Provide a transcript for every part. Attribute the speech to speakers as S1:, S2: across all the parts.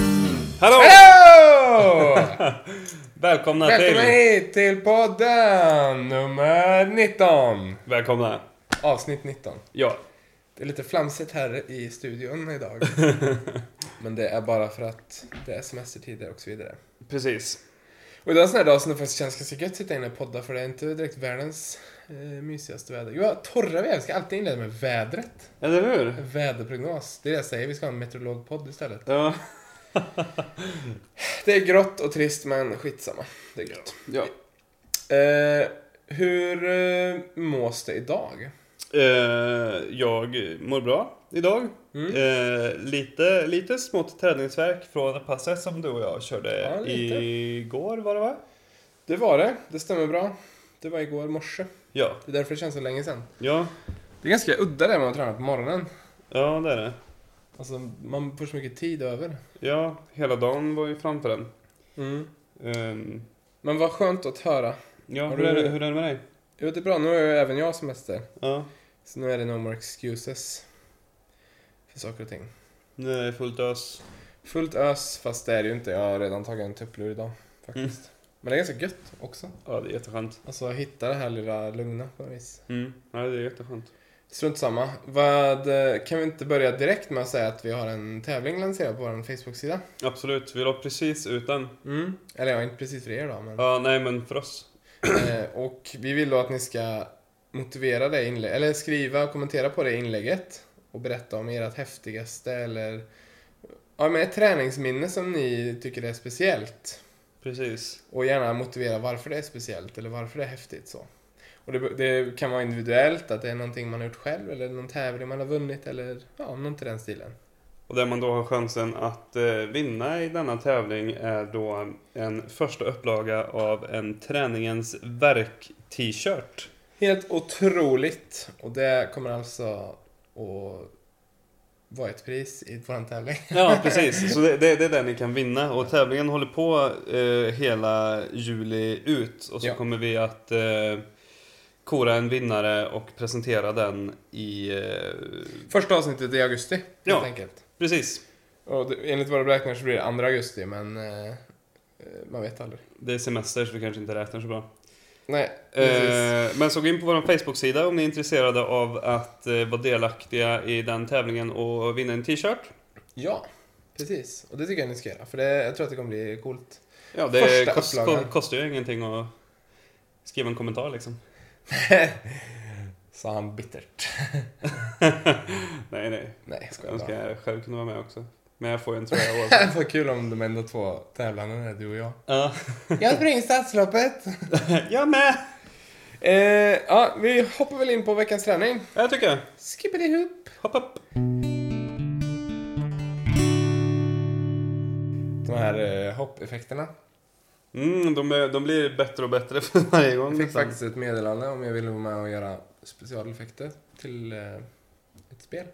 S1: Hallå!
S2: Hallå!
S1: Välkomna,
S2: Välkomna
S1: till...
S2: hit till podden nummer 19.
S1: Välkomna.
S2: Avsnitt 19.
S1: Ja.
S2: Det är lite flamsigt här i studion idag. Men det är bara för att det är semestertider och så vidare.
S1: Precis.
S2: Och det är en sån här dag som det faktiskt känns ganska gött att sitta inne och podda för det är inte direkt världens eh, mysigaste väder. Jo, torra väder. Vi ska alltid inleda med vädret.
S1: Eller hur?
S2: Väderprognos. Det är det jag säger. Vi ska ha en meteorologpodd istället.
S1: Ja.
S2: Det är grått och trist men skitsamma. Det är gött.
S1: ja.
S2: Eh, hur eh, mås det idag?
S1: Eh, jag mår bra idag.
S2: Mm.
S1: Eh, lite, lite smått träningsvärk från passet som du och jag körde
S2: Ja, lite.
S1: igår var det va?
S2: Det var det, det stämmer bra. Det var igår morse.
S1: Ja.
S2: Det är därför det känns så länge sedan.
S1: Ja.
S2: Det är ganska udda det med att träna på morgonen.
S1: Ja, det är det.
S2: Alltså, man får så mycket tid över. Mm.
S1: Ja, hela dagen var ju framför den. Ehm,
S2: Men vad skönt att höra.
S1: ja,
S2: Har
S1: hur är,
S2: du-
S1: det, hur är det med dig?
S2: Jo, det är bra. Nu har ju även jag semester.
S1: Ja.
S2: Så nu är det no more excuses. För saker och ting.
S1: Nu är det fullt ös.
S2: Fullt ös, fast det är det ju inte. Jag har redan tagit en tupplur idag. Faktiskt. Men det är ganska gött också.
S1: Ja, det är jätteskönt.
S2: Alltså, hitta det här lilla lugna på något vis.
S1: Mm. Ja, det är jätteskönt.
S2: Strunt samma. Vad, eh, kan vi inte börja direkt med att säga att vi har en tävling lanserad på vår Facebook-sida?
S1: Absolut, vi la precis ut den.
S2: Mm. Eller ja, inte precis för er då. Men,
S1: Ja, nej men för oss.
S2: eh, och vi vill då att ni ska motivera det inlägget, eller skriva och kommentera på det inlägget och berätta om ert häftigaste eller ja, men ett träningsminne som ni tycker är speciellt.
S1: Precis.
S2: Och gärna motivera varför det är speciellt eller varför det är häftigt. så. Och det, det kan vara individuellt, att det är någonting man har gjort själv eller någon tävling man har vunnit eller ja, något i den stilen.
S1: Och där man då har chansen att eh, vinna i denna tävling är då en första upplaga av en Träningens Verk-t-shirt.
S2: Helt otroligt. Och det kommer alltså att vara ett pris i vår tävling.
S1: Ja, precis. Så det, det, det är det ni kan vinna. Och tävlingen håller på eh, hela juli ut. Och så
S2: Ja.
S1: kommer vi att eh, kora en vinnare och presentera den i... Eh,
S2: Första avsnittet i augusti, helt
S1: Ja.
S2: enkelt.
S1: precis.
S2: Och det, enligt våra beräkningar så blir det andra augusti, men eh, eh, man vet aldrig.
S1: Det är semester så vi kanske inte räknar så bra.
S2: Nej, precis.
S1: Eh, men så gå in på vår Facebook-sida om ni är intresserade av att eh, vara delaktiga i den tävlingen och vinna en t-shirt.
S2: Ja, precis. Och det tycker jag ni ska göra, för det, jag tror att det kommer bli coolt.
S1: Ja,
S2: Första
S1: det kost,
S2: upplagan.
S1: ko- kostar ju ingenting att skriva en kommentar liksom.
S2: Sa han bittert.
S1: Nej, nej.
S2: Nej, jag
S1: Jag
S2: skojar
S1: önskar
S2: bara.
S1: jag själv kunde vara med också. Men jag får ju en tröja i år.
S2: Vad kul om de enda två tävlande är du och jag.
S1: Ja.
S2: Jag springer Stadsloppet!
S1: jag med!
S2: Eh, ja, vi hoppar väl in på veckans träning.
S1: Jag tycker jag.
S2: Skippity-hoop!
S1: Hopp upp.
S2: De här eh, hoppeffekterna.
S1: Mm, de, är, de blir bättre och bättre för varje gång.
S2: Jag fick
S1: nästan.
S2: faktiskt ett meddelande om jag ville vara med och göra specialeffekter till eh, ett spel.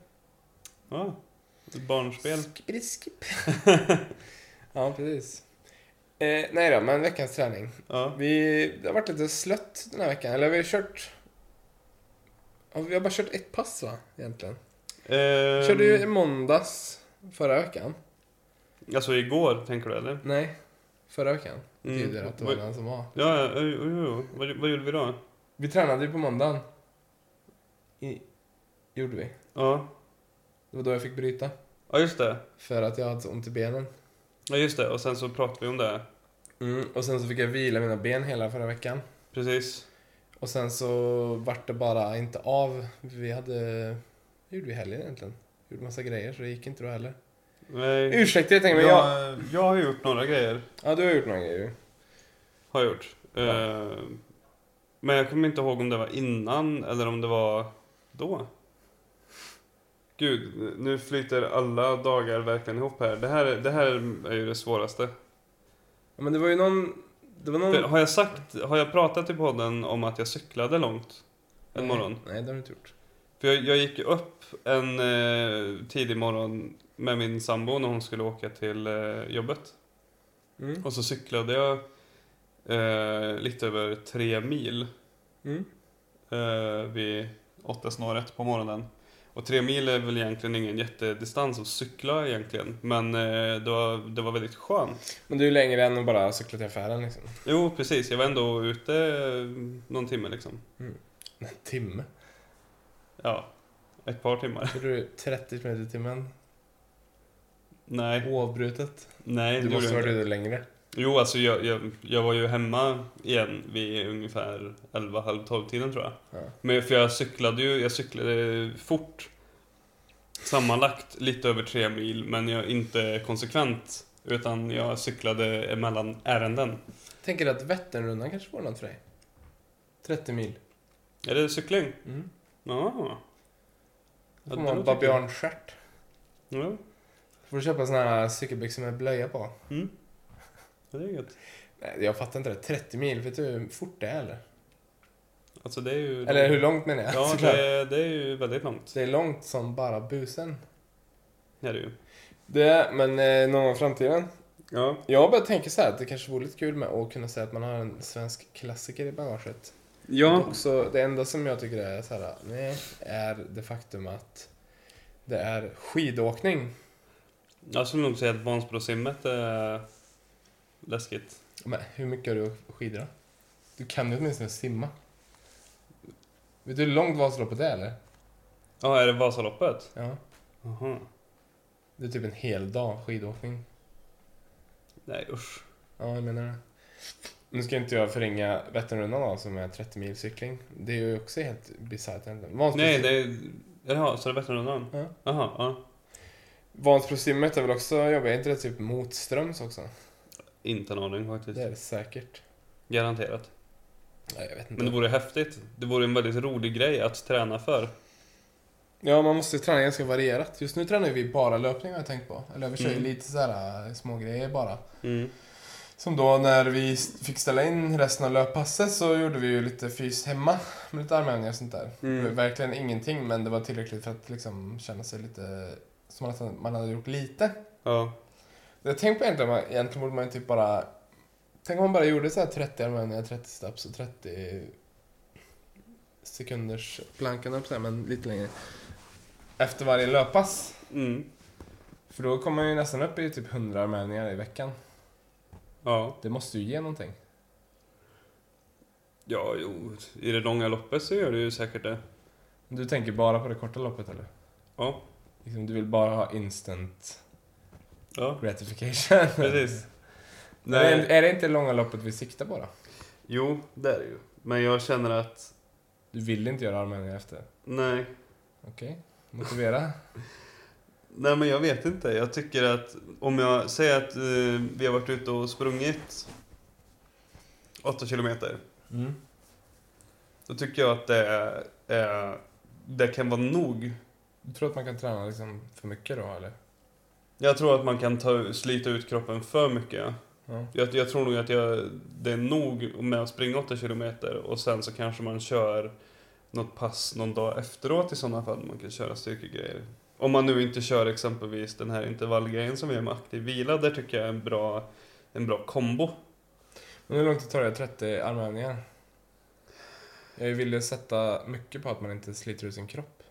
S1: Ja. Ett barnspel.
S2: Skippity skip. ja, precis. Eh, nej då, men veckans träning.
S1: Ja.
S2: Vi, det har varit lite slött den här veckan. Eller vi har kört... Ja, vi har bara kört ett pass va, egentligen?
S1: Ehm,
S2: Körde ju i måndags förra veckan.
S1: Alltså igår, tänker du eller?
S2: Nej, förra veckan. Det
S1: Mm.
S2: betyder att det var den som var.
S1: Ja, ja, jo, jo, jo. Vad, vad gjorde vi då?
S2: Vi tränade ju på måndagen. I, gjorde vi.
S1: Ja.
S2: Det var då jag fick bryta.
S1: Ja just det.
S2: För att jag hade så ont i benen.
S1: Ja just det. Och sen så pratade vi om det.
S2: Mm, och sen så fick jag vila mina ben hela förra veckan.
S1: Precis.
S2: Och sen så vart det bara inte av. Vi hade... Vad gjorde vi i helgen egentligen? Vi gjorde massa grejer så det gick inte då heller.
S1: Nej.
S2: Ursäkta helt enkelt, men jag...
S1: Jag, jag har gjort några grejer.
S2: Ja, du har gjort några grejer.
S1: Har jag gjort. Eh, Men jag kommer inte ihåg om det var innan eller om det var då. Gud, nu flyter alla dagar verkligen ihop här. Det här, är- det här är ju det svåraste.
S2: Ja, men det var ju någon... Det var någon...
S1: För Har jag sagt, har jag pratat i podden om att jag cyklade långt en morgon?
S2: Nej, nej, det har du inte gjort.
S1: För jag, jag gick ju upp en eh, tidig morgon med min sambo när hon skulle åka till eh, jobbet.
S2: Mm.
S1: Och så cyklade jag eh, lite över tre mil
S2: Mm.
S1: eh, vid åtta snåret på morgonen. Och tre mil är väl egentligen ingen jättedistans att cykla egentligen. Men eh, det var, det var väldigt skönt.
S2: Men du är längre än att bara cykla till affären liksom.
S1: Jo, precis. Jag var ändå ute eh, någon timme liksom.
S2: En timme?
S1: Ja, ett par timmar.
S2: Gjorde du 30 km i timmen?
S1: Nej,
S2: Oavbrutet?
S1: nej.
S2: Du
S1: det
S2: måste
S1: gjorde jag
S2: varit
S1: inte.
S2: ute längre.
S1: Jo, alltså jag, jag, jag var ju hemma igen vid ungefär 11, halv 12 tiden tror jag.
S2: Ja.
S1: Men för jag cyklade ju, jag cyklade fort. Sammanlagt lite över tre mil, men jag inte konsekvent. Utan jag cyklade mellan ärenden.
S2: Tänker att Vätternrundan kanske får något för dig? 30 mil.
S1: Är det cykling?
S2: Mm.
S1: Ja.
S2: Då får
S1: Ja,
S2: man
S1: det låter
S2: en
S1: kul.
S2: babianstjärt.
S1: ja.
S2: Får du köpa såna här cykelbyxor med blöja på?
S1: Mm. Ja, Det är gött.
S2: Nej, jag fattar inte det. 30 mil, vet du hur fort det är eller?
S1: Alltså det är ju...
S2: Eller hur långt menar jag?
S1: Ja,
S2: Såklart.
S1: det, det är ju väldigt långt.
S2: Så det är långt som bara busen.
S1: Det är det ju.
S2: Det, men eh, någon gång i framtiden.
S1: Ja.
S2: Jag har börjat tänka så här att det kanske vore lite kul med att kunna säga att man har en svensk klassiker i bagaget. Men
S1: Ja.
S2: Också, det enda som jag tycker är så här, nej, är det faktum att det är skidåkning.
S1: Jag skulle nog säga att Vansbrosimmet är läskigt.
S2: Men hur mycket har du åkt skidor då? Du kan ju åtminstone simma. Vet du hur långt Vasaloppet är eller?
S1: Ja, är det Vasaloppet?
S2: Ja.
S1: Jaha.
S2: Det är typ en hel dag skidåkning.
S1: Nej usch.
S2: Ja, jag menar det. Nu ska inte jag förringa Vätternrundan då, som är 30 mil cykling. Det är ju också helt bisarrt egentligen. Vansbro-
S1: Nej, det är... Jaha, så det är Vätternrundan?
S2: Ja.
S1: Jaha, ja.
S2: Vansbrosimmet är väl också jobbigt? Är inte det typ motströms också?
S1: Inte en aning faktiskt.
S2: Det är det säkert.
S1: Garanterat.
S2: Nej, jag vet inte.
S1: Men det vore häftigt. Det vore en väldigt rolig grej att träna för.
S2: Ja, man måste ju träna ganska varierat. Just nu tränar vi bara löpning har jag tänkt på. Eller vi kör ju
S1: Mm.
S2: lite så här äh, små grejer bara.
S1: Mm.
S2: Som då när vi s- fick ställa in resten av löppasset så gjorde vi ju lite fys hemma med lite armhävningar och sånt där.
S1: Mm.
S2: Det var Verkligen ingenting men det var tillräckligt för att liksom känna sig lite som att man hade gjort lite.
S1: Ja.
S2: Jag tänkte på egentligen, man- egentligen borde man ju typ bara... Tänk om man bara gjorde så här 30 armhävningar, 30 steps och 30 sekunders plankan upp så här, men lite längre. Efter varje löppass.
S1: Mm.
S2: För då kommer man ju nästan upp i typ 100 armhävningar i veckan.
S1: Ja.
S2: Det måste ju ge någonting.
S1: Ja, jo. I det långa loppet så gör det ju säkert det.
S2: Du tänker bara på det korta loppet eller?
S1: Ja.
S2: Liksom, du vill bara ha instant
S1: Ja,
S2: gratification.
S1: precis.
S2: Men Är, är det inte långa loppet vi siktar på då?
S1: Jo, det är det ju. Men jag känner att,
S2: Du vill inte göra armhävningar efter?
S1: nej.
S2: Okej, motivera.
S1: Nej men jag vet inte. Jag tycker att om jag säger att eh, vi har varit ute och sprungit 8 kilometer.
S2: Mm.
S1: Då tycker jag att det, är- är, det kan vara nog.
S2: Du tror att man kan träna liksom för mycket då eller?
S1: Jag tror att man kan ta, slita ut kroppen för mycket.
S2: Ja.
S1: Jag, jag tror nog att jag, det är nog med att springa 8 kilometer och sen så kanske man kör något pass någon dag efteråt i sådana fall. Man kan köra styrkegrejer. Om man nu inte kör exempelvis den här intervallgrejen som vi gör med aktiv vila, där tycker jag är en bra, en bra kombo.
S2: Men hur långt tar det? 30 armhävningar? Jag ville sätta mycket på att man inte sliter ut sin kropp.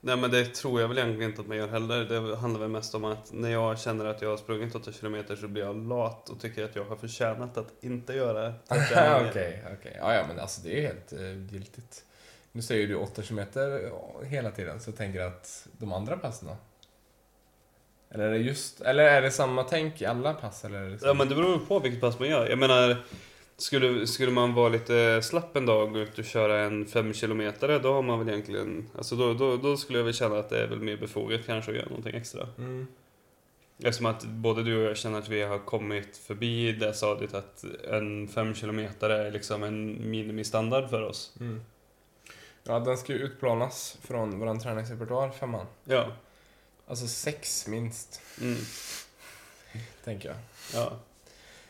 S1: Nej men det tror jag väl egentligen inte att man gör heller. Det handlar väl mest om att när jag känner att jag har sprungit 8 kilometer så blir jag lat och tycker att jag har förtjänat att inte göra
S2: Okej, okej. Ja, ja, men alltså det är ju helt eh, giltigt. Nu säger ju du 8 km hela tiden, så jag tänker att de andra passen då? Eller är det just, eller är det samma tänk i alla pass? Eller är det
S1: Ja men det beror på vilket pass man gör. Jag menar, skulle, skulle man vara lite slapp en dag och gå ut och köra en femkilometare, då har man väl egentligen... Alltså då, då, då skulle jag väl känna att det är väl mer befogat kanske att göra någonting extra.
S2: Mm.
S1: Eftersom att både du och jag känner att vi har kommit förbi det stadiet att en femkilometare är liksom en minimistandard för oss.
S2: Mm. Ja, den ska ju utplanas från vår träningsrepertoar, femman.
S1: Ja.
S2: Alltså sex minst,
S1: Mm.
S2: tänker jag.
S1: Ja.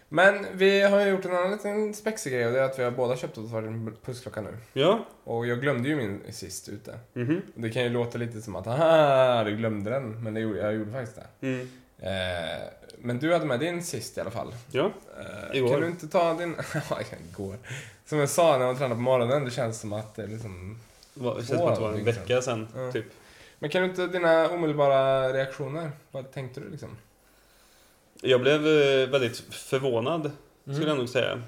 S2: Men vi har ju gjort en annan liten spexig grej och det är att vi har båda köpt oss varsin pulsklocka nu.
S1: Ja.
S2: Och jag glömde ju min sist ute.
S1: Mhm.
S2: Det kan ju låta lite som att aha, du glömde den, men det gjorde, jag gjorde faktiskt det.
S1: Mm.
S2: Eh, men du hade med din sist i alla fall.
S1: Ja.
S2: Eh,
S1: Igår.
S2: Kan du inte ta din... Ja, igår. Som jag sa när man tränar på morgonen, det känns som att det är liksom...
S1: Det var- det
S2: Två
S1: känns som att det var en
S2: dygn sedan.
S1: vecka sen,
S2: Ja.
S1: typ.
S2: Men kan du inte dina omedelbara reaktioner? Vad tänkte du liksom?
S1: Jag blev eh, väldigt förvånad, Mm.
S2: Mm.
S1: skulle jag nog säga.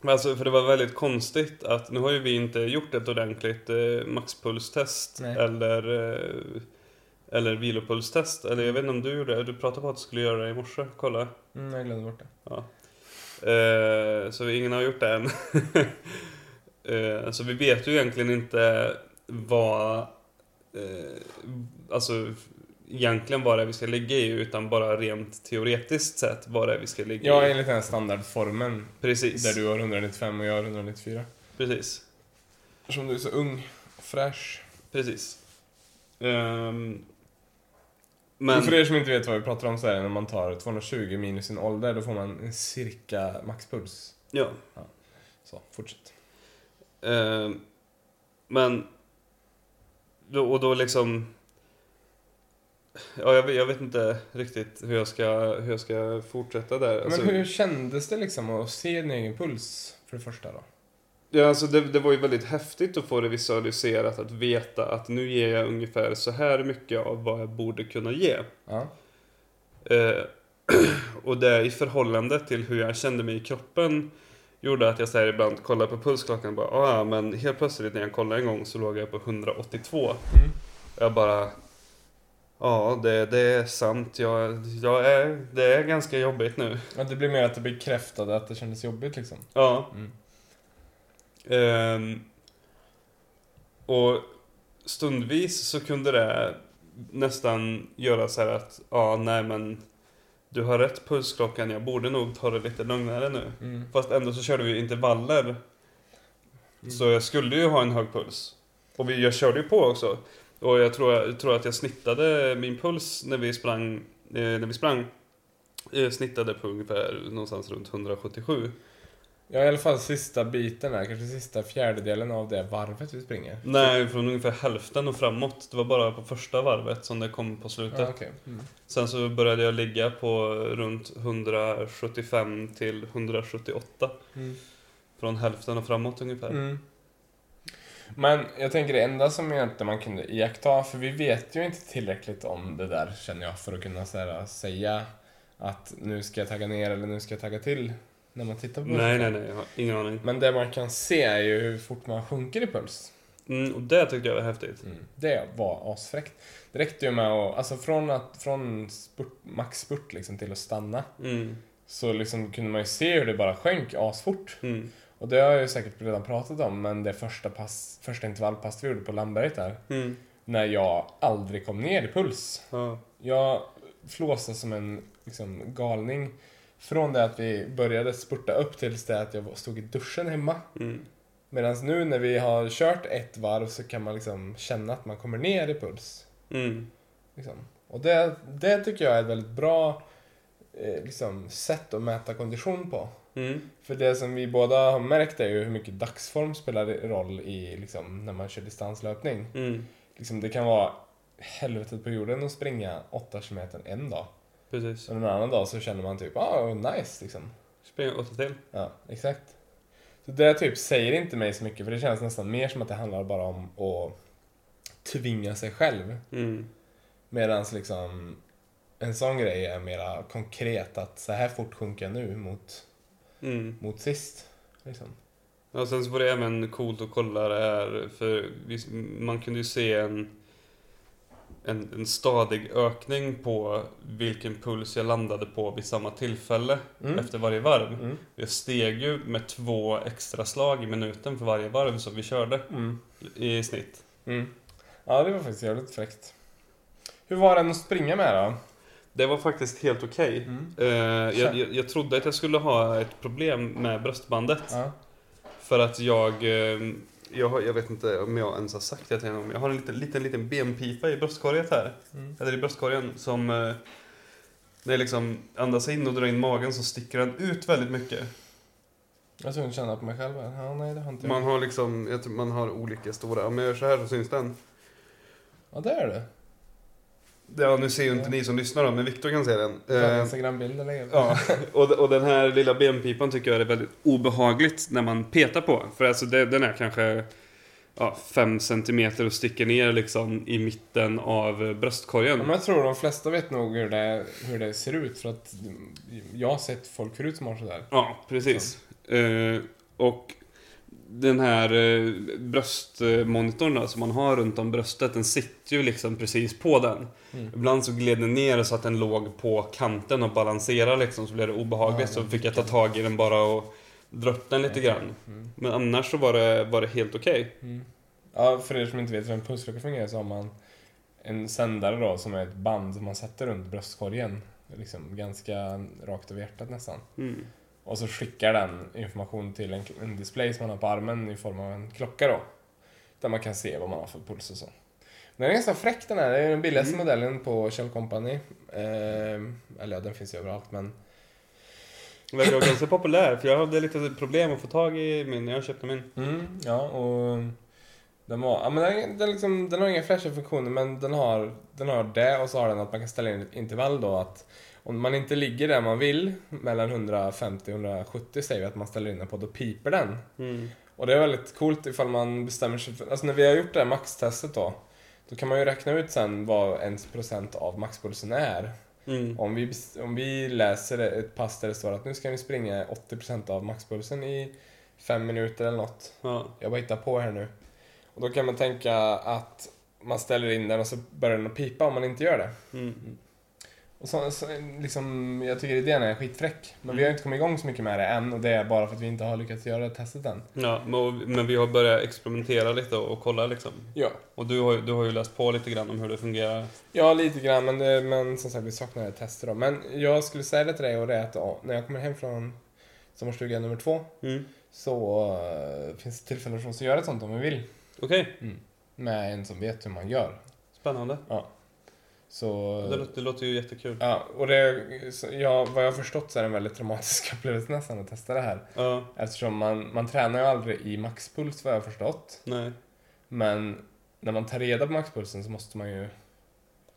S1: Men Alltså, för det var väldigt konstigt att nu har ju vi inte gjort ett ordentligt eh, maxpulstest
S2: Nej.
S1: eller, eh, eller vilopulstest. Eller jag vet inte om du gjorde det, du pratade på att du skulle göra det i morse, kolla.
S2: Mm, jag glömde bort det.
S1: Eh, så vi- ingen har gjort det än. eh, så vi vet ju egentligen inte vad, eh, alltså egentligen vad det är vi ska ligga i utan bara rent teoretiskt sett vad det är vi ska ligga
S2: Ja,
S1: i.
S2: enligt den här standardformeln
S1: Precis,
S2: där du har 195 och jag har 194.
S1: precis,
S2: Eftersom du är så ung och fräsch.
S1: precis. Ehm, men,
S2: För er som inte vet vad vi pratar om så är det när man tar 220 minus sin ålder, då får man en cirka maxpuls.
S1: ja.
S2: Så, fortsätt.
S1: Eh, men... Då, och då liksom... Ja, jag, vet- jag vet inte riktigt hur jag ska, hur jag ska fortsätta där. Alltså,
S2: Men hur kändes det liksom att se din egen puls för det första då?
S1: ja, alltså det, det var ju väldigt häftigt att få det visualiserat, att veta att nu ger jag ungefär så här mycket av vad jag borde kunna ge.
S2: Ja.
S1: Eh, och det i förhållande till hur jag kände mig i kroppen gjorde att jag så här ibland kollade på pulsklockan och bara ah, ja, men helt plötsligt när jag kollade en gång så låg jag på 182.
S2: Mm.
S1: Jag bara... Ja, det, det är sant. Jag, jag är, det är ganska jobbigt nu.
S2: Att det blir mer att det bekräftade att det kändes jobbigt liksom.
S1: Ja.
S2: Mm.
S1: Ehm, och stundvis så kunde det nästan göra så här att ja, nej men du har rätt pulsklockan. Jag borde nog ta det lite lugnare nu.
S2: Mm.
S1: Fast ändå så körde vi intervaller.
S2: Mm.
S1: Så jag skulle ju ha en hög puls. Och vi, jag körde ju på också. Och jag tror, jag tror att jag snittade min puls när vi sprang. Eh, när vi sprang eh, snittade på ungefär någonstans runt 177.
S2: Ja, i alla fall sista biten här, kanske sista fjärdedelen av det varvet vi springer.
S1: Nej, från ungefär hälften och framåt. Det var bara på första varvet som det kom på slutet.
S2: Ja, okej. Mm.
S1: Sen så började jag ligga på runt 175 till 178.
S2: Mm.
S1: Från hälften och framåt ungefär.
S2: Mm. Men jag tänker det enda som egentligen man kunde iaktta, för vi vet ju inte tillräckligt om det där känner jag för att kunna så här, säga att nu ska jag tagga ner eller nu ska jag tagga till när man tittar på
S1: Nej, nej, nej. Jag har ingen aning.
S2: Men det man kan se är ju hur fort man sjunker i puls.
S1: Mm, och det tyckte jag var häftigt.
S2: Det var asfräckt. Det räckte ju med att, alltså från, att, från spurt, maxspurt liksom till att stanna
S1: Mm,
S2: så liksom kunde man ju se hur det bara sjönk asfort.
S1: mm,
S2: Och det har jag ju säkert redan pratat om, men det första, pass, första intervallpasset vi gjorde på Landberget där,
S1: mm.
S2: när jag aldrig kom ner i puls.
S1: Ja.
S2: Jag flåsade som en liksom, galning från det att vi började spurta upp tills det att jag var- stod i duschen hemma.
S1: Mm,
S2: Medan nu när vi har kört ett varv så kan man liksom känna att man kommer ner i puls.
S1: mm,
S2: Liksom. Och det, det tycker jag är ett väldigt bra eh, liksom, sätt att mäta kondition på.
S1: mm,
S2: För det som vi båda har märkt är ju hur mycket dagsform spelar roll i, liksom, när man kör distanslöpning.
S1: mm.
S2: Liksom, det kan vara helvetet på jorden att springa 8 km en dag.
S1: Precis.
S2: Och en annan dag så känner man typ, ah, nice liksom.
S1: Spring åtta till.
S2: Ja, exakt. Så det typ säger inte mig så mycket för det känns nästan mer som att det handlar bara om att tvinga sig själv.
S1: Mm,
S2: Medan liksom en sån grej är mera konkret att så här fort sjunker jag nu mot,
S1: mm.
S2: mot sist. Liksom.
S1: Ja, sen så var det även coolt att kolla det här, för vi, man kunde ju se en, en, en stadig ökning på vilken puls jag landade på vid samma tillfälle
S2: Mm.
S1: efter varje varv.
S2: Mm.
S1: Jag steg ju med två extra slag i minuten för varje varv som vi körde
S2: Mm.
S1: i snitt.
S2: Mm. Ja, det var faktiskt jävligt fräckt. Hur var den att springa med då?
S1: Det var faktiskt helt okej.
S2: Mm.
S1: Eh, jag, jag, jag trodde att jag skulle ha ett problem med bröstbandet.
S2: Ja.
S1: För att jag, eh, jag, har- jag vet inte om jag ens har sagt det till någon, men jag har en liten, liten, liten benpipa i bröstkorgen här.
S2: Mm.
S1: Eller i bröstkorgen som, eh, när jag liksom andas in och drar in magen så sticker den ut väldigt mycket.
S2: Jag tror inte känna på mig själv. här. Ja, nej, det har inte
S1: Man
S2: jag.
S1: har liksom, jag tror man har olika stora, om jag gör så här så syns den.
S2: Ja, det är det.
S1: Ja, nu ser ju inte ni som lyssnar då, men Viktor kan se den.
S2: På
S1: Eh,
S2: Instagram-bilden lägger jag upp.
S1: Ja, och, och den här lilla benpipan tycker jag är väldigt obehagligt när man petar på. För alltså det, den är kanske ja, fem centimeter och sticker ner liksom i mitten av eh, bröstkorgen.
S2: Men jag tror de flesta vet nog hur det, hur det ser ut för att jag har sett folk förut som har sådär.
S1: Ja, precis. Eh, och den här eh, bröstmonitorn då, som man har runt om bröstet, den sitter ju liksom precis på den.
S2: Mm.
S1: Ibland så gled den ner så att den låg på kanten och balanserade liksom, så blev det obehagligt.
S2: Ja,
S1: så
S2: den
S1: fick jag ta tag i den bara och dra upp den lite grann.
S2: Mm.
S1: Men annars så var det, var det helt okej.
S2: Mm. Ja, för er som inte vet hur en pulsklocka fungerar så har man en sändare då som är ett band som man sätter runt bröstkorgen. Liksom ganska rakt över hjärtat nästan.
S1: Mm.
S2: Och så skickar den information till en, en display som man har på armen i form av en klocka då. Där man kan se vad man har för puls och så. Den är ganska fräck den här. Det är den billigaste
S1: Mm.
S2: modellen på Kjell Company. Ehm, eller ja, den finns ju överallt men.
S1: Den verkar vara ganska populär för jag hade lite problem att få tag i min när jag köpte min.
S2: Mm, ja och den var, ja men den, den, liksom, den har inga fräscha funktioner men den har, den har det och så har den att man kan ställa in ett intervall då att om man inte ligger där man vill mellan 150 och 170 säger vi att man ställer in den på, då piper den.
S1: Mm.
S2: Och det är väldigt coolt ifall man bestämmer sig för, alltså när vi har gjort det här maxtestet då, då kan man ju räkna ut sen vad ens procent av maxpulsen är.
S1: Mm.
S2: Om vi, bes- om vi läser ett pass där det står att nu ska ni springa 80% av maxpulsen i fem minuter eller något.
S1: Ja.
S2: Jag bara hittar på här nu. Och då kan man tänka att man ställer in den och så börjar den att pipa om man inte gör det.
S1: Mm.
S2: Och så, så, liksom, jag tycker idén är skitfräck. Men vi har inte kommit igång så mycket med det än och det är bara för att vi inte har lyckats göra det testet än.
S1: Ja, men, men vi har börjat experimentera lite och kolla liksom.
S2: Ja.
S1: Och du har, ju- du har ju läst på lite grann om hur det fungerar.
S2: Ja, lite grann, men, det, men som sagt, vi saknar det testet då. Men jag skulle säga det till dig och det är att ja, när jag kommer hem från sommarstuga nummer två
S1: Mm.
S2: så eh, finns det tillfällen för oss att göra ett sånt om vi vill.
S1: Okej,
S2: Med en som vet hur man gör.
S1: spännande.
S2: Så...
S1: Det låter, det låter ju jättekul.
S2: Ja, och det, så jag, vad jag har förstått så är det en väldigt traumatisk upplevelse nästan att testa det här.
S1: Ja,
S2: Eftersom man, man tränar ju aldrig i maxpuls vad jag har förstått.
S1: nej.
S2: Men när man tar reda på maxpulsen så måste man ju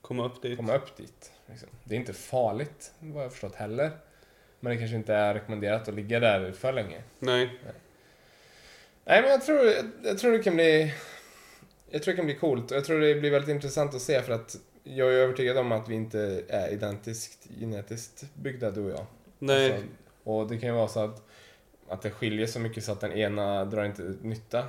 S1: Komma upp dit.
S2: komma upp dit. Liksom. Det är inte farligt vad jag har förstått heller. Men det kanske inte är rekommenderat att ligga där för länge.
S1: Nej.
S2: Nej, men jag tror, jag, jag tror det kan bli... Jag tror det kan bli coolt och jag tror det blir väldigt intressant att se för att jag är övertygad om att vi inte är identiskt genetiskt byggda, du och jag.
S1: Nej.
S2: Alltså, och det kan ju vara så att, att det skiljer så mycket så att den ena drar inte ut nytta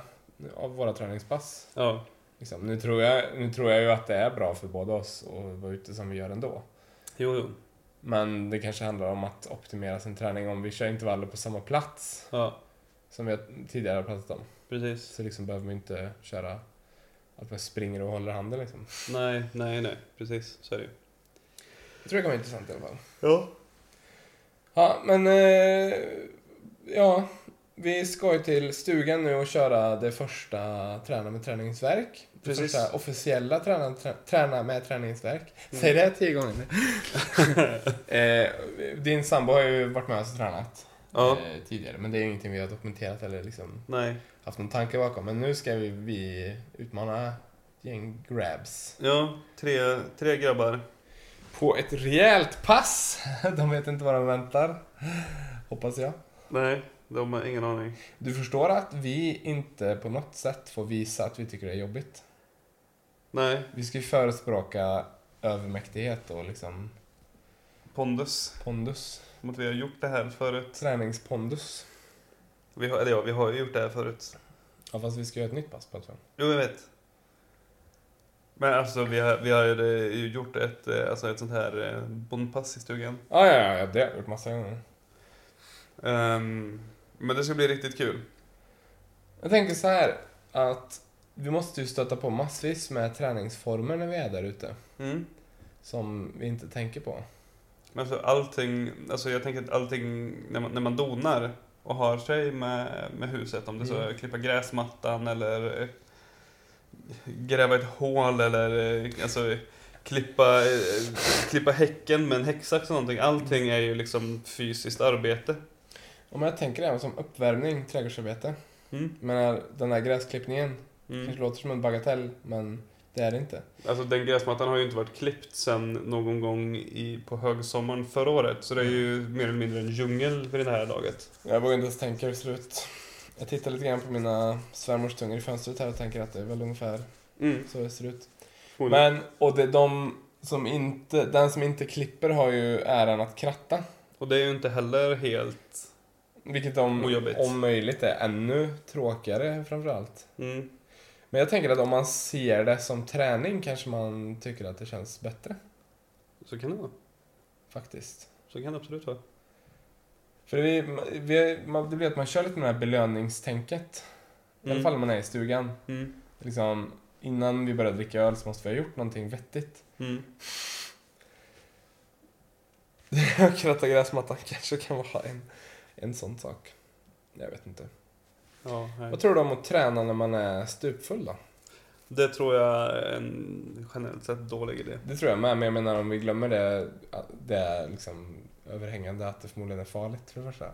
S2: av våra träningspass.
S1: Ja.
S2: Liksom. Nu, tror jag, nu tror jag ju att det är bra för båda oss att vara ute som vi gör ändå.
S1: Jo, jo.
S2: Men det kanske handlar om att optimera sin träning. Om vi kör intervaller på samma plats
S1: Ja,
S2: som vi tidigare har pratat om
S1: precis.
S2: så liksom behöver vi inte köra att man springer och håller handen. Liksom.
S1: Nej, nej, nej. Precis, så är det ju.
S2: Jag tror det kan vara intressant i alla fall.
S1: Ja.
S2: Ja, men eh, ja, vi ska ju till stugan nu och köra det första Träna med träningens verk. Det
S1: Precis.
S2: första officiella Träna, trä, träna med träningens verk. Säg det här tio gånger nu. eh, din sambo har ju varit med oss och tränat
S1: Ja.
S2: eh, tidigare, men det är ju ingenting vi har dokumenterat eller liksom
S1: Nej.
S2: haft någon tanke bakom. Men nu ska vi, vi utmana ett gäng grabs.
S1: Ja, tre, tre grabbar.
S2: På ett rejält pass. De vet inte vad de väntar. Hoppas jag.
S1: Nej, de har ingen aning.
S2: Du förstår att vi inte på något sätt får visa att vi tycker det är jobbigt.
S1: Nej.
S2: Vi ska ju förespråka övermäktighet och liksom
S1: Pondus.
S2: pondus.
S1: Som att vi har gjort det här förut.
S2: Träningspondus.
S1: Vi har, eller ja, vi har ju gjort det här förut.
S2: Ja, fast vi ska göra ett nytt pass på tror jag.
S1: Jo, jag vet. Men alltså, vi har, vi har ju eh, gjort ett, eh, alltså ett sånt här eh, bondpass i stugan.
S2: Ah, ja, ja, ja, det har jag gjort massa gånger.
S1: Ehm, men det ska bli riktigt kul.
S2: Jag tänker så här att vi måste ju stöta på massvis med träningsformer när vi är där ute.
S1: Mm.
S2: Som vi inte tänker på.
S1: Men alltså, allting, alltså jag tänker att allting när man, när man donar och har sig med, med huset, om det så
S2: Mm.
S1: är klippa gräsmattan eller eh, gräva ett hål eller eh, alltså, klippa, eh, klippa häcken med en häcksax och någonting. Allting är ju liksom fysiskt arbete.
S2: Om jag tänker även som uppvärmning, trädgårdsarbete.
S1: Mm.
S2: Jag menar, den där gräsklippningen
S1: Mm.
S2: kanske låter som en bagatell, men det är det inte.
S1: Alltså den gräsmattan har ju inte varit klippt sedan någon gång i, på högsommaren förra året. Så det är ju mer eller mindre en djungel vid det här laget.
S2: Jag vågar inte ens tänka hur det ser ut. Jag tittar lite grann på mina svärmorstungor i fönstret här och tänker att det är väl ungefär
S1: Mm.
S2: så det ser ut.
S1: Hon-
S2: Men, och det, de som inte, den som inte klipper har ju äran att kratta.
S1: Och det är ju inte heller helt...
S2: Vilket om,
S1: Ojobbigt.
S2: om möjligt är ännu tråkigare framförallt.
S1: Mm.
S2: Men jag tänker att om man ser det som träning kanske man tycker att det känns bättre
S1: Så kan det vara.
S2: faktiskt.
S1: Så kan det absolut vara.
S2: För vi, vi, man, det blir att man kör lite med det här belöningstänket. I alla fall när man är i stugan.
S1: Mm.
S2: Liksom, innan vi börjar dricka öl så måste vi ha gjort någonting vettigt.
S1: Mm.
S2: Kratta gräsmattan kanske kan vara en, en sån sak. Jag vet inte.
S1: Ja, nej.
S2: Vad tror du om att träna när man är stupfull då?
S1: Det tror jag är en generellt sett dålig idé.
S2: Det tror jag med, men jag menar om vi glömmer det, att det är liksom överhängande att det förmodligen är farligt för det första.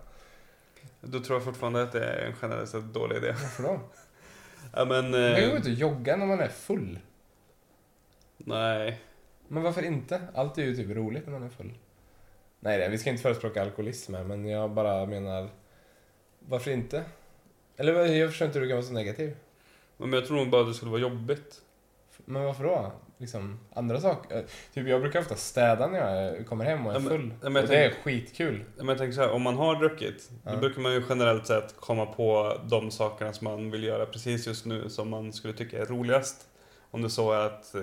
S1: Då tror jag fortfarande att det är en generellt sett dålig idé.
S2: Varför då?
S1: Ja, men...
S2: Man kan ju
S1: Eh,
S2: gå ut och jogga när man är full.
S1: nej.
S2: Men varför inte? Allt är ju typ roligt när man är full. Nej, det, vi ska inte förespråka alkoholism här, men jag bara menar, varför inte? Eller vad- jag förstår inte hur du kan vara så negativ.
S1: Men jag tror nog bara att det skulle vara jobbigt.
S2: Men varför då? Liksom, andra saker. eh, Typ jag brukar ofta städa när jag kommer hem och är
S1: Ja, men-
S2: full.
S1: ja, men jag
S2: och det är skitkul.
S1: Men jag tänker så här, om man har druckit,
S2: Ja.
S1: då brukar man ju generellt sett komma på de sakerna som man vill göra precis just nu som man skulle tycka är roligast. Om det så är att, eh,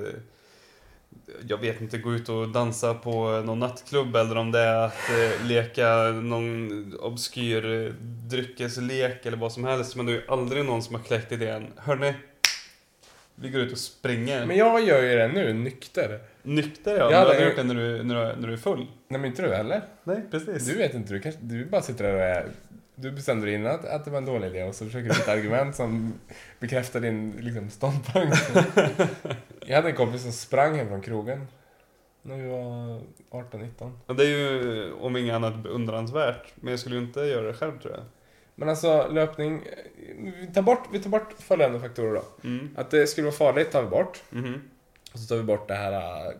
S1: jag vet inte, gå ut och dansa på någon nattklubb eller om det är att eh, leka någon obskyr eh, dryckeslek eller vad som helst. Men det är ju aldrig någon som har kläckt idén, hörni, vi går ut och springer.
S2: Men jag gör ju det nu, nykter.
S1: Nykter ja,
S2: Ja,
S1: men du
S2: det-
S1: har gjort det när du, när, du, när du är full.
S2: Nej men inte du heller.
S1: Nej, precis.
S2: Du vet inte, du, kanske, du bara sitter där och är... Du bestämde dig innan att, att det var en dålig idé och så försöker du hitta argument som bekräftar din liksom, ståndpunkt. Jag hade en kompis som sprang hem från krogen när vi var 18-19.
S1: Ja, det är ju om inget annat beundransvärt, men jag skulle ju inte göra det själv tror jag.
S2: Men alltså löpning, eh, vi tar bort, vi tar bort följande faktorer då.
S1: Mm.
S2: Att det skulle vara farligt tar vi bort.
S1: Mhm.
S2: Och så tar vi bort det här äh,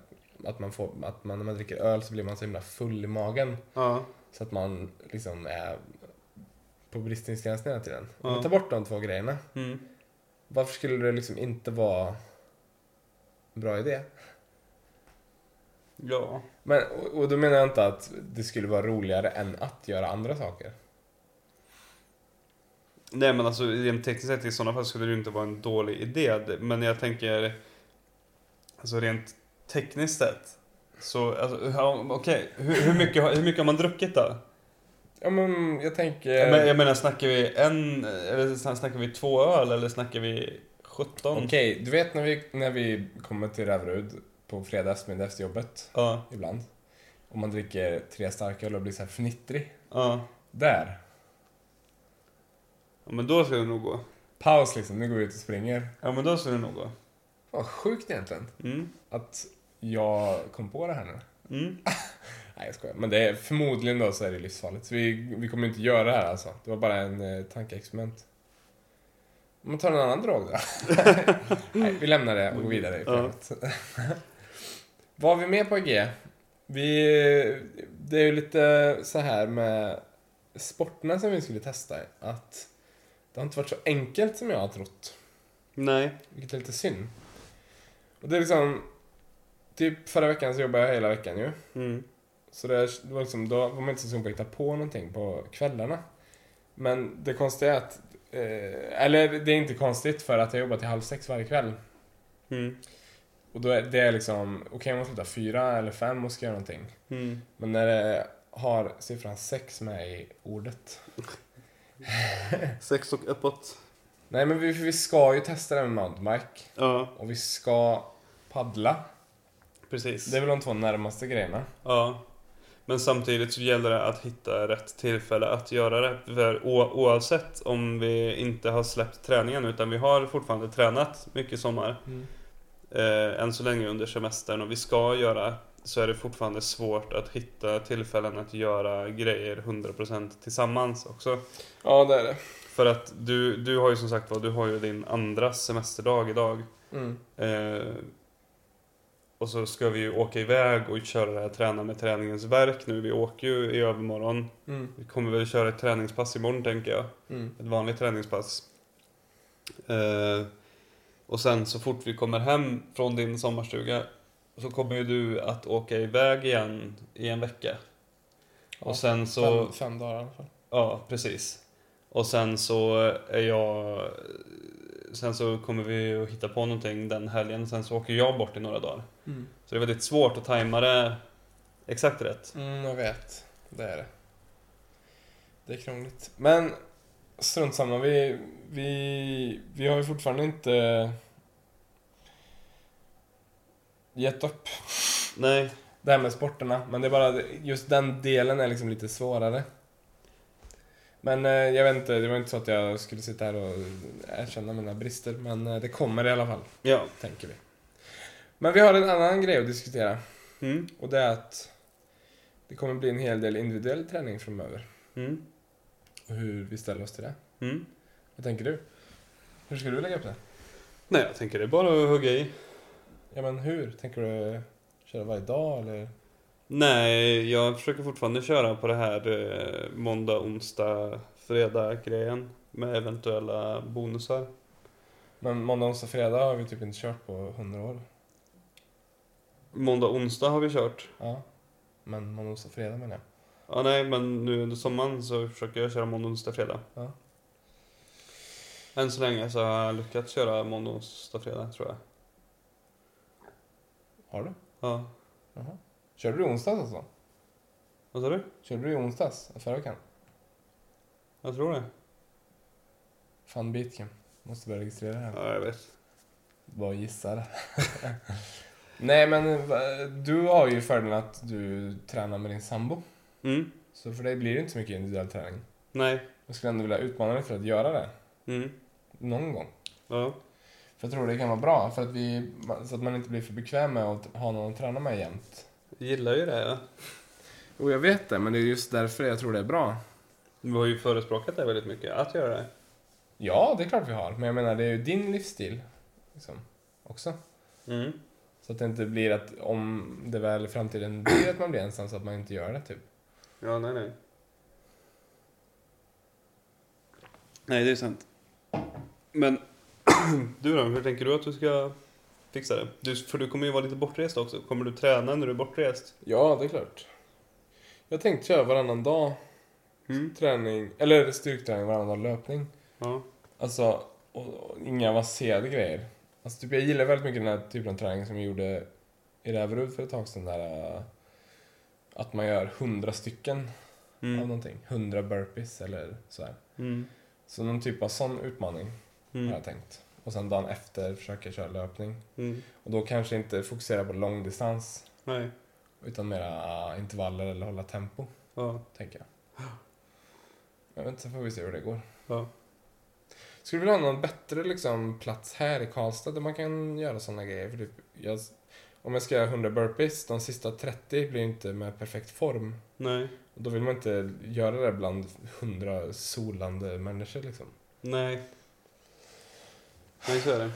S2: att man får, att man, när man dricker öl så blir man så himla full i magen.
S1: Ja.
S2: Så att man liksom är på bristningsgränsen hela tiden. Om
S1: Ja.
S2: vi tar bort de två grejerna.
S1: Mm.
S2: Varför skulle det liksom inte vara en bra idé?
S1: Ja.
S2: Men, och, och då menar jag inte att det skulle vara roligare än att göra andra saker.
S1: Nej men alltså rent tekniskt sett i sådana fall skulle det ju inte vara en dålig idé. Det- Men jag tänker, alltså rent tekniskt sett. Så alltså, ja, okej, hur, hur, mycket, har- hur mycket har man druckit då?
S2: Ja men jag tänker...
S1: Men, jag menar snackar vi en, eller sn- snackar vi två öl eller snackar vi 17?
S2: Okej, du vet när vi, när vi kommer till Rävrud på fredag eftermiddag efter jobbet
S1: Ja,
S2: ibland. Och man dricker tre starköl och blir så här fnittrig.
S1: ja.
S2: Där!
S1: Ja men då skulle det nog gå.
S2: Paus liksom, nu går vi ut och springer.
S1: Ja men då skulle det nog gå.
S2: Vad sjukt egentligen.
S1: Mm.
S2: Att jag kom på det här nu.
S1: Mm.
S2: Nej jag skojar, men det är, förmodligen då så är det livsfarligt. Så vi, vi kommer inte göra det här alltså. Det var bara en eh, tankeexperiment. Om man tar en annan drog då? Nej, vi lämnar det och går vidare i programmet. Vad har vi med på G? Vi, det är ju lite så här med sporterna som vi skulle testa. Att det har inte varit så enkelt som jag har trott.
S1: Nej.
S2: Vilket är lite synd. Och det är liksom... Typ förra veckan så jobbade jag hela veckan ju.
S1: Mm.
S2: Så det, det var liksom, då var man inte så sugen på att hitta på någonting på kvällarna. Men det konstiga är att... Eh, eller det är inte konstigt för att jag jobbar till halv sex varje kväll.
S1: Mm.
S2: Och då är det är liksom, okej jag måste sluta fyra eller fem och ska göra någonting.
S1: Mm.
S2: Men när det har siffran sex med i ordet.
S1: Sex och uppåt.
S2: Nej men vi, vi ska ju testa det med mountainbike.
S1: Ja,
S2: Och vi ska paddla.
S1: precis.
S2: Det är väl de två närmaste grejerna.
S1: Ja. Men samtidigt så gäller det att hitta rätt tillfälle att göra det. För o- oavsett om vi inte har släppt träningen utan vi har fortfarande tränat mycket i sommar.
S2: Mm.
S1: Eh, än så länge under semestern och vi ska göra så är det fortfarande svårt att hitta tillfällen att göra grejer 100% tillsammans också.
S2: Ja det är det.
S1: För att du, du har ju som sagt var, du har ju din andra semesterdag idag.
S2: Mm.
S1: Eh, Och så ska vi ju åka iväg och köra det här träna med träningens verk nu. Vi åker ju i övermorgon.
S2: Mm.
S1: Vi kommer väl köra ett träningspass imorgon tänker jag.
S2: Mm.
S1: Ett vanligt träningspass. Eh, och sen så fort vi kommer hem från din sommarstuga så kommer ju du att åka iväg igen i en vecka.
S2: Ja,
S1: Och sen så...
S2: Fem, fem dagar i alla fall.
S1: Ja, precis. Och sen så är jag... Sen så kommer vi att hitta på någonting den helgen, sen så åker jag bort i några dagar.
S2: Mm.
S1: Så det är väldigt svårt att tajma det exakt rätt.
S2: Mm, jag vet. Det är det. Det är krångligt. Men strunt samma, vi, vi, vi har ju fortfarande inte gett upp
S1: Nej,
S2: det här med sporterna. Men det är bara just den delen är liksom lite svårare. Men eh, jag vet inte, det var inte så att jag skulle sitta här och erkänna mina brister. Men eh, det kommer i alla fall,
S1: ja.
S2: tänker vi. Men vi har en annan grej att diskutera.
S1: Mm.
S2: Och det är att det kommer bli en hel del individuell träning framöver.
S1: Mm.
S2: Och hur vi ställer oss till det.
S1: Mm.
S2: Vad tänker du? Hur ska du lägga upp det?
S1: Nej, jag tänker det är bara att hugga i.
S2: Ja men hur? Tänker du köra varje dag eller?
S1: Nej, jag försöker fortfarande köra på det här eh, måndag, onsdag, fredag-grejen med eventuella bonusar.
S2: Men måndag, onsdag, fredag har vi typ inte kört på 100 år.
S1: Måndag, onsdag har vi kört.
S2: Ja. Men måndag, onsdag, fredag menar jag.
S1: Ja, nej, men nu under sommaren så försöker jag köra måndag, onsdag, fredag.
S2: Ja.
S1: Än så länge så har jag lyckats köra måndag, onsdag, fredag tror jag.
S2: Har du?
S1: Ja.
S2: Jaha. Körde du i onsdags alltså?
S1: Vad sa du?
S2: Körde du i onsdags förra veckan?
S1: Jag tror det.
S2: Fan Bitcamp. Måste börja registrera det här.
S1: Ja, jag vet.
S2: Bara gissar. Nej men eh, du har ju fördelen att du tränar med din sambo.
S1: Mm.
S2: Så för dig blir det inte så mycket individuell träning.
S1: Nej.
S2: Jag skulle ändå vilja utmana dig för att göra det.
S1: Mm.
S2: Någon gång.
S1: Ja.
S2: För jag tror det kan vara bra. För att vi, så att man inte blir för bekväm med att ha någon att träna med jämt.
S1: Jag gillar ju det. Ja.
S2: Jo, jag vet det. Men det är just därför jag tror det är bra.
S1: Du har ju förespråkat det väldigt mycket, att göra det.
S2: Ja, det är klart vi har. Men jag menar, det är ju din livsstil. Liksom, också.
S1: Mm.
S2: Så att det inte blir att om det väl i framtiden blir att man blir ensam så att man inte gör det typ.
S1: Ja, nej, nej. Nej, det är sant. Men du då, hur tänker du att du ska fixa det? Du, för du kommer ju vara lite bortrest också. Kommer du träna när du är bortrest?
S2: Ja, det är klart. Jag tänkte köra varannan dag träning, eller styrketräning varannan dag löpning.
S1: Mm. Ja.
S2: Alltså, och, och, inga avancerade grejer. Alltså, typ, jag gillar väldigt mycket den här typen av träning som jag gjorde i Räverud för ett tag sedan. Där, äh, att man gör hundra stycken av
S1: Mm.
S2: någonting. Hundra burpees eller sådär.
S1: Mm.
S2: Så någon typ av sån utmaning har
S1: Mm.
S2: jag tänkt. Och sen dagen efter försöka köra löpning.
S1: Mm.
S2: Och då kanske inte fokusera på långdistans
S1: Nej.
S2: utan mera äh, intervaller eller hålla tempo,
S1: Ja.
S2: tänker jag. Jag vet inte, så får vi se hur det går.
S1: Ja.
S2: Skulle du vilja ha någon bättre liksom, plats här i Karlstad där man kan göra sådana grejer? För typ, jag, om jag ska göra 100 burpees, de sista 30 blir inte med perfekt form.
S1: Nej.
S2: Och då vill man inte göra det bland 100 solande människor liksom.
S1: Nej. Nej, så är det.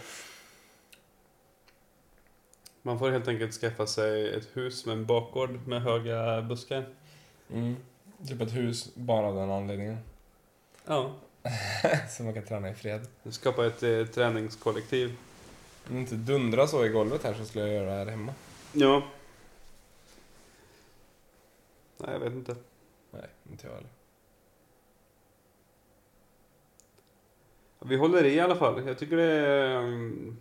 S1: Man får helt enkelt skaffa sig ett hus med en bakgård med höga buskar.
S2: Typ ett hus bara av den anledningen.
S1: Ja.
S2: så man kan träna i fred.
S1: Skapa ett eh, träningskollektiv.
S2: Om inte dundra så i golvet här så skulle jag göra det här hemma.
S1: Ja. Nej, jag vet inte.
S2: Nej, inte jag heller.
S1: Vi håller i i alla fall. Jag tycker det är... mm,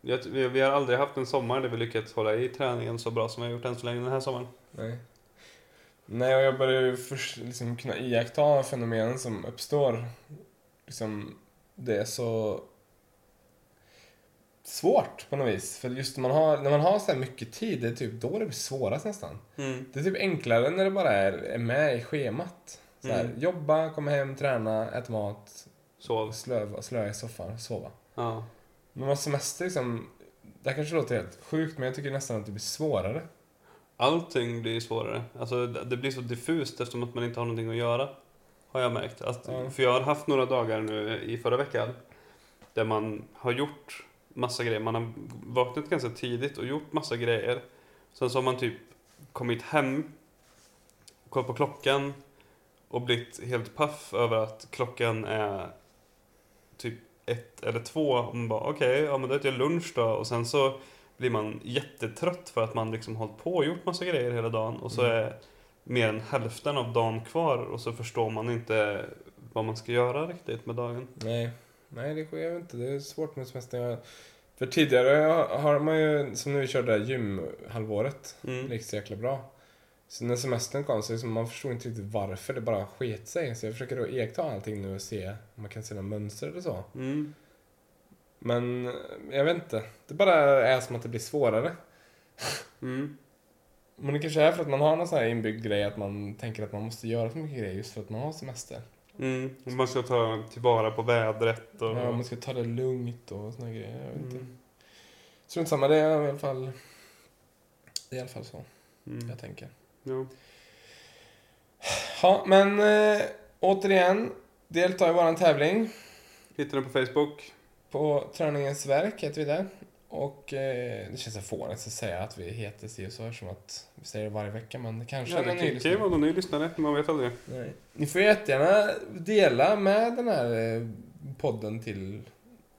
S1: Jag, ty- vi, vi har aldrig haft en sommar där vi lyckats hålla i träningen så bra som vi har gjort än så länge den här sommaren.
S2: Nej. Nej, och jag börjar ju först liksom kunna iaktta fenomenen som uppstår. Liksom, det är så svårt på något vis. För just när man har, när man har så här mycket tid, det är typ då det blir svårast nästan.
S1: Mm.
S2: Det är typ enklare när det bara är, är med i schemat. Så här,
S1: Mm.
S2: Jobba, komma hem, träna, äta mat,
S1: Sov.
S2: slöva, slöa i soffan, sova.
S1: Ja.
S2: Men man har semester liksom, det här kanske låter helt sjukt men jag tycker nästan att det blir svårare.
S1: Allting blir svårare. Alltså, det det blir så diffust eftersom att man inte har någonting att göra. Har jag märkt. Att,
S2: Ja.
S1: För jag har haft några dagar nu i förra veckan där man har gjort massa grejer. Man har vaknat ganska tidigt och gjort massa grejer. Sen så har man typ kommit hem, kollat på klockan och blivit helt paff över att klockan är typ ett eller två. Och man bara okej, ja men då äter jag lunch då. Och sen så blir man jättetrött för att man liksom hållit på och gjort massa grejer hela dagen. Och så
S2: Mm.
S1: är mer än hälften av dagen kvar och så förstår man inte vad man ska göra riktigt med dagen.
S2: Nej, nej det sker ju inte. Det är svårt med semestern. Jag- För tidigare har man ju, som nu vi körde det här gymhalvåret,
S1: Mm.
S2: det gick så jäkla bra. Så när semestern kom så liksom, man förstod inte riktigt varför det bara sket sig. Så jag försöker då iaktta allting nu och se om man kan se några mönster eller så.
S1: Mm.
S2: Men eh, jag vet inte. Det bara är som att det blir svårare.
S1: Mm.
S2: Men det kanske är för att man har någon sån här inbyggd grej att man tänker att man måste göra så mycket grejer just för att man har semester.
S1: Mm. och Man ska ta tillvara på vädret och...
S2: Ja, man ska ta det lugnt och såna grejer. Jag vet inte.
S1: Mm.
S2: Strunt samma, det är i alla fall... Det är i alla fall så
S1: Mm.
S2: jag tänker.
S1: Ja.
S2: Ja, men eh, återigen. Delta i våran tävling.
S1: Hittar den på Facebook.
S2: På Träningens verk heter vi där. Och eh, det känns så fånigt att säga att vi heter si och så eftersom att vi säger det varje vecka, men det kanske
S1: Ja,
S2: är
S1: det
S2: en ny
S1: kan- kan ju
S2: lyssnare.
S1: vara någon ny lyssnare, man vet aldrig.
S2: Nej. Ni får jättegärna dela med den här eh, podden till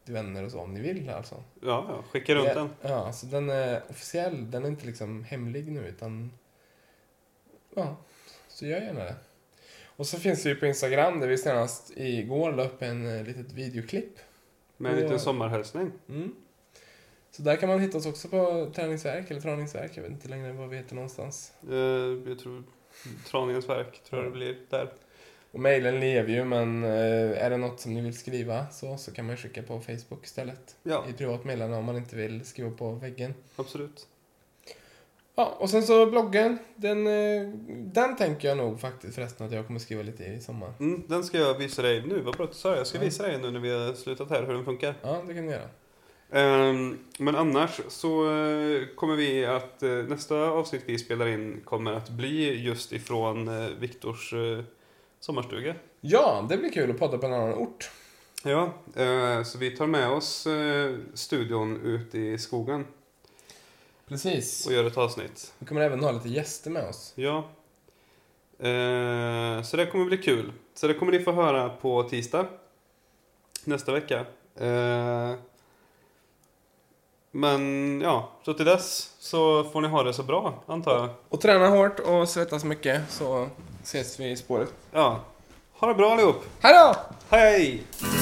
S2: till vänner och så om ni vill alltså.
S1: Ja, ja. skicka runt
S2: Ja,
S1: den.
S2: Ja, alltså den är officiell. Den är inte liksom hemlig nu utan... Ja, så gör gärna det. Och så finns vi på Instagram där vi senast igår la upp en eh, litet videoklipp.
S1: Med en
S2: Ja.
S1: liten sommarhälsning.
S2: Mm. Så där kan man hitta oss också på träningsverk eller träningsverk. Jag vet inte längre vad vi heter någonstans.
S1: Eh, jag tror Traningens verk, tror jag det blir där.
S2: Och mejlen lever ju men eh, är det något som ni vill skriva så, så kan man ju skicka på Facebook istället.
S1: Ja,
S2: I privatmeddelande om man inte vill skriva på väggen.
S1: absolut.
S2: Ja, och sen så bloggen. Den, eh, den tänker jag nog faktiskt förresten att jag kommer skriva lite i sommar.
S1: Mm, den ska jag visa dig nu, vad bra att du sa det. Jag ska
S2: Ja.
S1: visa dig nu när vi har slutat här hur den funkar.
S2: Ja, det kan du göra.
S1: Ehm, Men annars så eh, kommer vi att eh, nästa avsnitt vi spelar in kommer att bli just ifrån eh, Viktors eh, sommarstuga.
S2: Ja, det blir kul att podda på en annan ort.
S1: Ja, eh, så vi tar med oss eh, studion ut i skogen
S2: Precis.
S1: och gör ett avsnitt.
S2: Vi kommer även ha lite gäster med oss.
S1: Ja. Eh, Så det kommer bli kul. Så det kommer ni få höra på tisdag nästa vecka. Eh, Men ja, så till dess så får ni ha det så bra, antar jag.
S2: Och träna hårt och svettas mycket så ses vi i spåret.
S1: Ja. Ha det bra allihop.
S2: Hej då!
S1: Hej! hej!